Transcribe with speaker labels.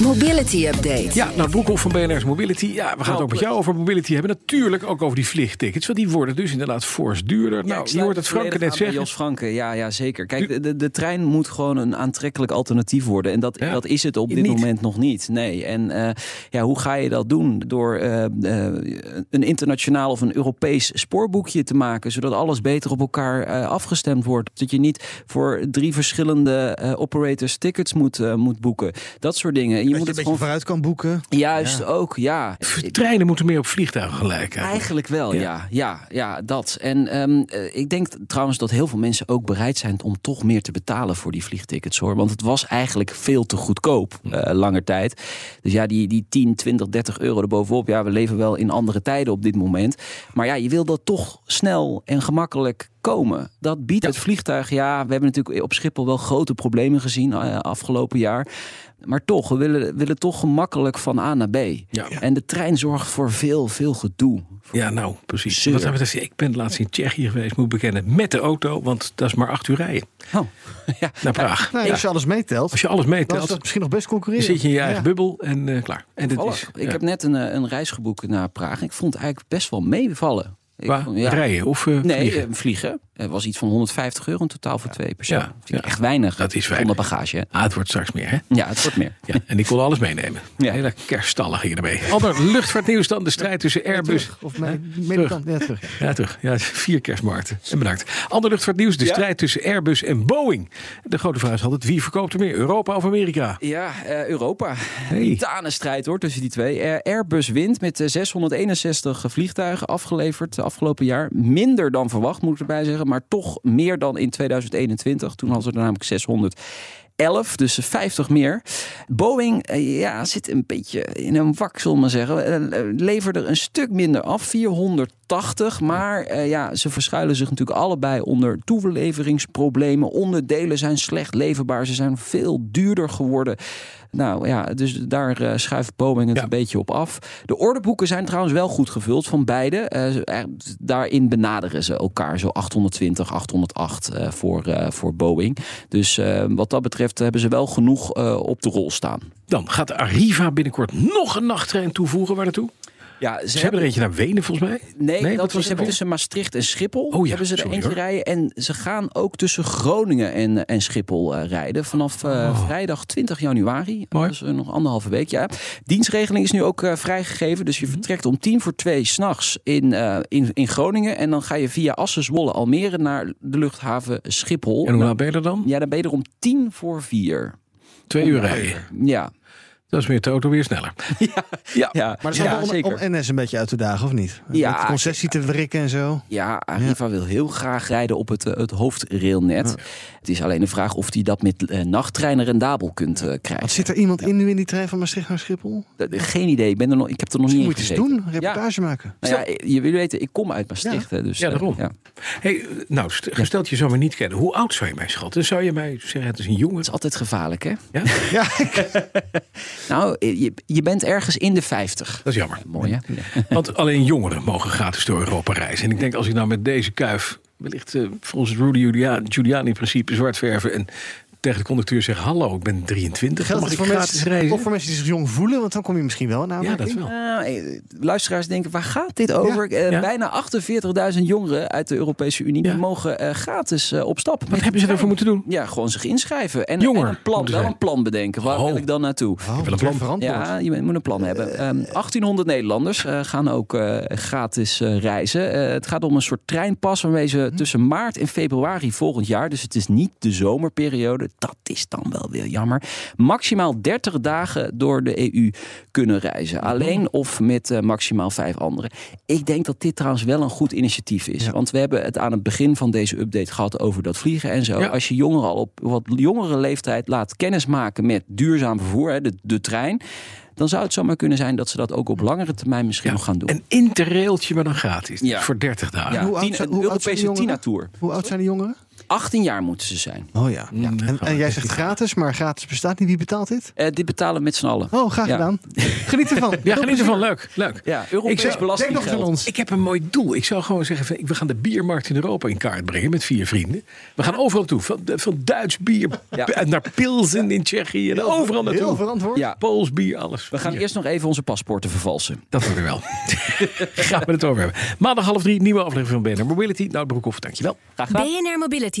Speaker 1: Mobility update.
Speaker 2: Ja, nou Broekhoff van BNR's Mobility. Ja, we gaan het ook met jou over mobility hebben. Natuurlijk ook over die vliegtickets, want die worden dus inderdaad fors duurder.
Speaker 3: Ja, ik
Speaker 2: Nou, je
Speaker 3: sluit
Speaker 2: hoort het Franke
Speaker 3: volledig
Speaker 2: net
Speaker 3: aan bij
Speaker 2: zeggen.
Speaker 3: Jos Franke, ja, ja zeker. Kijk, de- de, de trein moet gewoon een aantrekkelijk alternatief worden. En dat,
Speaker 2: Ja.
Speaker 3: dat is het op dit
Speaker 2: Niet.
Speaker 3: moment nog niet. Nee. En eh, ja, hoe ga je dat doen? Door eh, eh, een internationaal of een Europees spoorboekje te maken. Zodat alles beter op elkaar eh, afgestemd wordt. Dat je niet voor drie verschillende eh, operators tickets moet, eh, moet boeken. Dat soort dingen. En je
Speaker 4: Dat
Speaker 3: moet
Speaker 4: je een
Speaker 3: het
Speaker 4: beetje
Speaker 3: gewoon
Speaker 4: vooruit kan boeken.
Speaker 3: juist ook, ja.
Speaker 2: Treinen moeten meer op vliegtuigen gelijken.
Speaker 3: Eigenlijk wel, ja. Ja, ja, dat. En ehm, eh, ik denk t- trouwens dat heel veel mensen ook bereid zijn om toch meer te betalen voor die vliegtickets hoor. Want het was eigenlijk veel te goedkoop eh langer tijd. Dus ja, die, die 10, 20, 30 euro erbovenop. Ja, we leven wel in andere tijden op dit moment. Maar ja, je wil dat toch snel en gemakkelijk komen. Dat biedt het vliegtuig. Ja, we hebben natuurlijk op Schiphol wel grote problemen gezien eh, afgelopen jaar. Maar toch, we willen, willen toch gemakkelijk van A naar B.
Speaker 2: Ja.
Speaker 3: En de trein zorgt voor veel, veel gedoe.
Speaker 2: Ja, nou, precies.
Speaker 3: Zeer.
Speaker 2: Wat dat betreft, ik ben laatst in Tsjechië geweest, moet ik bekennen, met de auto. Want dat is maar acht uur rijden
Speaker 3: Oh, ja.
Speaker 2: naar Praag.
Speaker 4: Nou,
Speaker 2: Ja.
Speaker 4: Als je alles meetelt,
Speaker 2: Als je alles
Speaker 4: dan is
Speaker 2: meetelt,
Speaker 4: dat misschien nog best concurrerend.
Speaker 2: zit je in je eigen
Speaker 4: Ja.
Speaker 2: bubbel en eh, klaar. En dat
Speaker 3: Toevallig.
Speaker 2: is
Speaker 3: ik
Speaker 2: ja.
Speaker 3: heb net een, eh, een reis geboekt naar Praag. Ik vond het eigenlijk best wel meevallen. Ik
Speaker 2: Waar?
Speaker 3: vond- ja.
Speaker 2: rijden of eh,
Speaker 3: Nee,
Speaker 2: vliegen.
Speaker 3: vliegen. vliegen. Het was iets van 150 euro in totaal voor twee personen.
Speaker 2: Ja,
Speaker 3: Dat vind ik
Speaker 2: ja.
Speaker 3: echt weinig.
Speaker 2: Dat is
Speaker 3: Zonder
Speaker 2: weinig.
Speaker 3: bagage. hè?
Speaker 2: Ah, het wordt straks meer, hè?
Speaker 3: Ja, het wordt meer.
Speaker 2: Ja, en ik kon alles meenemen.
Speaker 3: Ja.
Speaker 2: Hele kerststallen gingen ermee. Albert, luchtvaartnieuws dan. De strijd tussen Airbus...
Speaker 4: Terug. Of nee, medikant. Ja, terug.
Speaker 2: Ja, terug. Ja, vier kerstmarkten. En bedankt. Ander luchtvaartnieuws. De strijd tussen Airbus en Boeing. De grote vraag is altijd, wie verkoopt er meer? Europa of Amerika?
Speaker 3: Ja, eh, Europa.
Speaker 2: Hey.
Speaker 3: strijd hoor tussen die twee. Eh, Airbus wint met eh, 661 vliegtuigen afgeleverd de afgelopen jaar. Minder dan verwacht, moet ik erbij zeggen. Maar toch meer dan in 2021. Toen hadden ze er namelijk 611, dus 50 meer. Boeing eh, ja, zit een beetje in een wak, zullen we maar zeggen. Eh, eh, Leverde er een stuk minder af, 480. Maar eh, ja, ze verschuilen zich natuurlijk allebei onder toeleveringsproblemen. Onderdelen zijn slecht leverbaar. Ze zijn veel duurder geworden. Nou ja, dus daar eh, schuift Boeing het
Speaker 2: Ja.
Speaker 3: een beetje op af. De orderboeken zijn trouwens wel goed gevuld van beide. Eh, ze- eh, daarin benaderen ze elkaar zo 820, 808 eh, voor, eh, voor Boeing. Dus eh, wat dat betreft hebben ze wel genoeg eh, op de rol staan.
Speaker 2: Dan gaat Arriva binnenkort nog een nachttrein toevoegen. Waar naartoe?
Speaker 3: Ja,
Speaker 2: Ze hebben er eentje naar Wenen, volgens mij.
Speaker 3: Nee,
Speaker 2: wat
Speaker 3: dat
Speaker 2: was
Speaker 3: is
Speaker 2: het
Speaker 3: hebben
Speaker 2: ook?
Speaker 3: tussen Maastricht en Schiphol.
Speaker 2: Oh ja,
Speaker 3: hebben ze er
Speaker 2: sorry,
Speaker 3: eentje
Speaker 2: hoor.
Speaker 3: rijden. En ze gaan ook tussen Groningen en, en Schiphol eh, rijden. Vanaf eh, vrijdag 20 januari.
Speaker 2: Oh. Mooi.
Speaker 3: Dus eh, nog anderhalve week. Ja. Dienstregeling is nu ook eh, vrijgegeven. Dus je
Speaker 2: Mhm.
Speaker 3: vertrekt om tien voor twee s'nachts in, eh, in, in Groningen. En dan ga je via Assen, Zwolle, Almere naar de luchthaven Schiphol.
Speaker 2: En hoe laat ben je er dan?
Speaker 3: Ja, dan ben je er om tien voor vier.
Speaker 2: Twee uur rijden.
Speaker 3: Ja,
Speaker 2: Dat is met de auto weer sneller.
Speaker 3: ja. ja.
Speaker 4: Maar dat is
Speaker 3: ja,
Speaker 4: wel om, om NS een beetje uit te dagen, of niet?
Speaker 3: Ja.
Speaker 4: Met concessie te wrikken en zo.
Speaker 3: Ja, Arriva wil heel graag rijden op het, eh, het hoofdrailnet. Het is alleen de vraag of hij dat met eh, nachttreinen rendabel kunt eh, krijgen.
Speaker 4: Wat zit er iemand in nu in die trein van Maastricht naar Schiphol?
Speaker 3: Dat- Geen idee, ik, ben er nog, ik heb er nog
Speaker 4: Misschien
Speaker 3: niet in
Speaker 4: moet je iets
Speaker 3: gezeten.
Speaker 4: doen, een reportage maken.
Speaker 3: Nou ja, je wil weten, ik kom uit Maastricht. hè, dus,
Speaker 2: Ja,
Speaker 3: eh,
Speaker 2: daarom.
Speaker 3: ja.
Speaker 2: Hey, nou, st- gesteld je zou me niet kennen. Hoe oud zou je mij schatten? Zou je mij zeggen, het is een jongen?
Speaker 3: Het is altijd gevaarlijk, hè?
Speaker 2: Ja?
Speaker 4: Ja,
Speaker 3: Nou, eh, je, je bent ergens in de 50.
Speaker 2: Dat is jammer.
Speaker 3: Mooi, hè?
Speaker 2: Want alleen jongeren mogen gratis door Europa reizen. En ik denk, als ik nou met deze kuif... wellicht eh, volgens het Rudy Giulia- Giuliani-principe zwart verven... en tegen de conducteur zeggen... hallo, ik ben 23,
Speaker 4: geldt
Speaker 2: mag
Speaker 4: het
Speaker 2: ik
Speaker 4: voor
Speaker 2: gratis
Speaker 4: mensen,
Speaker 2: reizen?
Speaker 4: of voor mensen die zich jong voelen? Want dan kom je misschien wel naar
Speaker 2: Ja, dat wel.
Speaker 3: Nou, eh, luisteraars denken, waar gaat dit over? Eh,
Speaker 2: Ja.
Speaker 3: Bijna 48.000 jongeren uit de Europese Unie
Speaker 2: Ja.
Speaker 3: mogen eh, gratis eh, op stap. met
Speaker 2: Wat
Speaker 3: de
Speaker 2: hebben ze
Speaker 3: trein.
Speaker 2: daarvoor moeten doen?
Speaker 3: Ja, gewoon zich inschrijven. En,
Speaker 2: Jonger
Speaker 3: en een plan,
Speaker 2: moeten
Speaker 3: wel
Speaker 2: zijn.
Speaker 3: een plan bedenken. Waar
Speaker 2: Oh.
Speaker 3: wil ik dan naartoe?
Speaker 4: Oh,
Speaker 2: wel een
Speaker 4: een
Speaker 2: plan.
Speaker 4: plan verantwoord.
Speaker 3: Ja, je moet een plan hebben. Ehm, 1800 Nederlanders eh, gaan ook eh, gratis eh, reizen. Eh, het gaat om een soort treinpas waarmee ze tussen maart en februari volgend jaar, dus het is niet de zomerperiode, dat is dan wel weer jammer, maximaal 30 dagen door de EU kunnen reizen. Alleen of met eh, maximaal vijf anderen. Ik denk dat dit trouwens wel een goed initiatief is. Want we hebben het aan het begin van deze update gehad over dat vliegen en zo.
Speaker 2: Ja.
Speaker 3: Als je jongeren al op wat jongere leeftijd laat kennismaken met duurzaam vervoer, hè, de, de trein. Dan zou het zomaar kunnen zijn dat ze dat ook op langere termijn misschien nog gaan doen.
Speaker 2: Een interrailtje, maar dan gratis.
Speaker 3: Ja.
Speaker 2: Voor 30 dagen.
Speaker 3: ja,
Speaker 4: hoe oud
Speaker 3: tien-
Speaker 4: zijn-
Speaker 3: een
Speaker 4: hoe oud zijn die
Speaker 3: Europese
Speaker 4: jongeren?
Speaker 3: Tina-tour.
Speaker 4: Hoe oud zijn de jongeren?
Speaker 3: 18 jaar moeten ze zijn.
Speaker 4: Oh ja. En, en jij zegt gratis, maar gratis bestaat niet. Wie betaalt dit?
Speaker 3: Eh, dit betalen we met z'n allen.
Speaker 4: Oh, graag
Speaker 3: Ja.
Speaker 4: gedaan. Geniet ervan.
Speaker 2: Ja, geniet ervan. Leuk, leuk.
Speaker 3: Ja, Europees
Speaker 2: Ik zeg,
Speaker 4: Denk nog eens aan
Speaker 3: belastinggeld.
Speaker 4: ons.
Speaker 2: Ik heb een mooi doel. Ik zou gewoon zeggen, van, we gaan de biermarkt in Europa in kaart brengen met vier vrienden. We gaan overal toe. Van, van Duits bier
Speaker 3: Ja.
Speaker 2: p- naar Pilsen in Tsjechië. En overal naartoe.
Speaker 4: Heel verantwoord.
Speaker 3: Ja.
Speaker 2: Pools bier, alles.
Speaker 3: We gaan
Speaker 2: Bier.
Speaker 3: eerst nog even onze paspoorten vervalsen.
Speaker 2: Dat worden we wel. Gaan we het over hebben. Maandag half drie, nieuwe aflevering van BNR Mobility. Nou, Broekhoff, dankjewel.
Speaker 3: Graag gedaan.
Speaker 5: BNR Mobility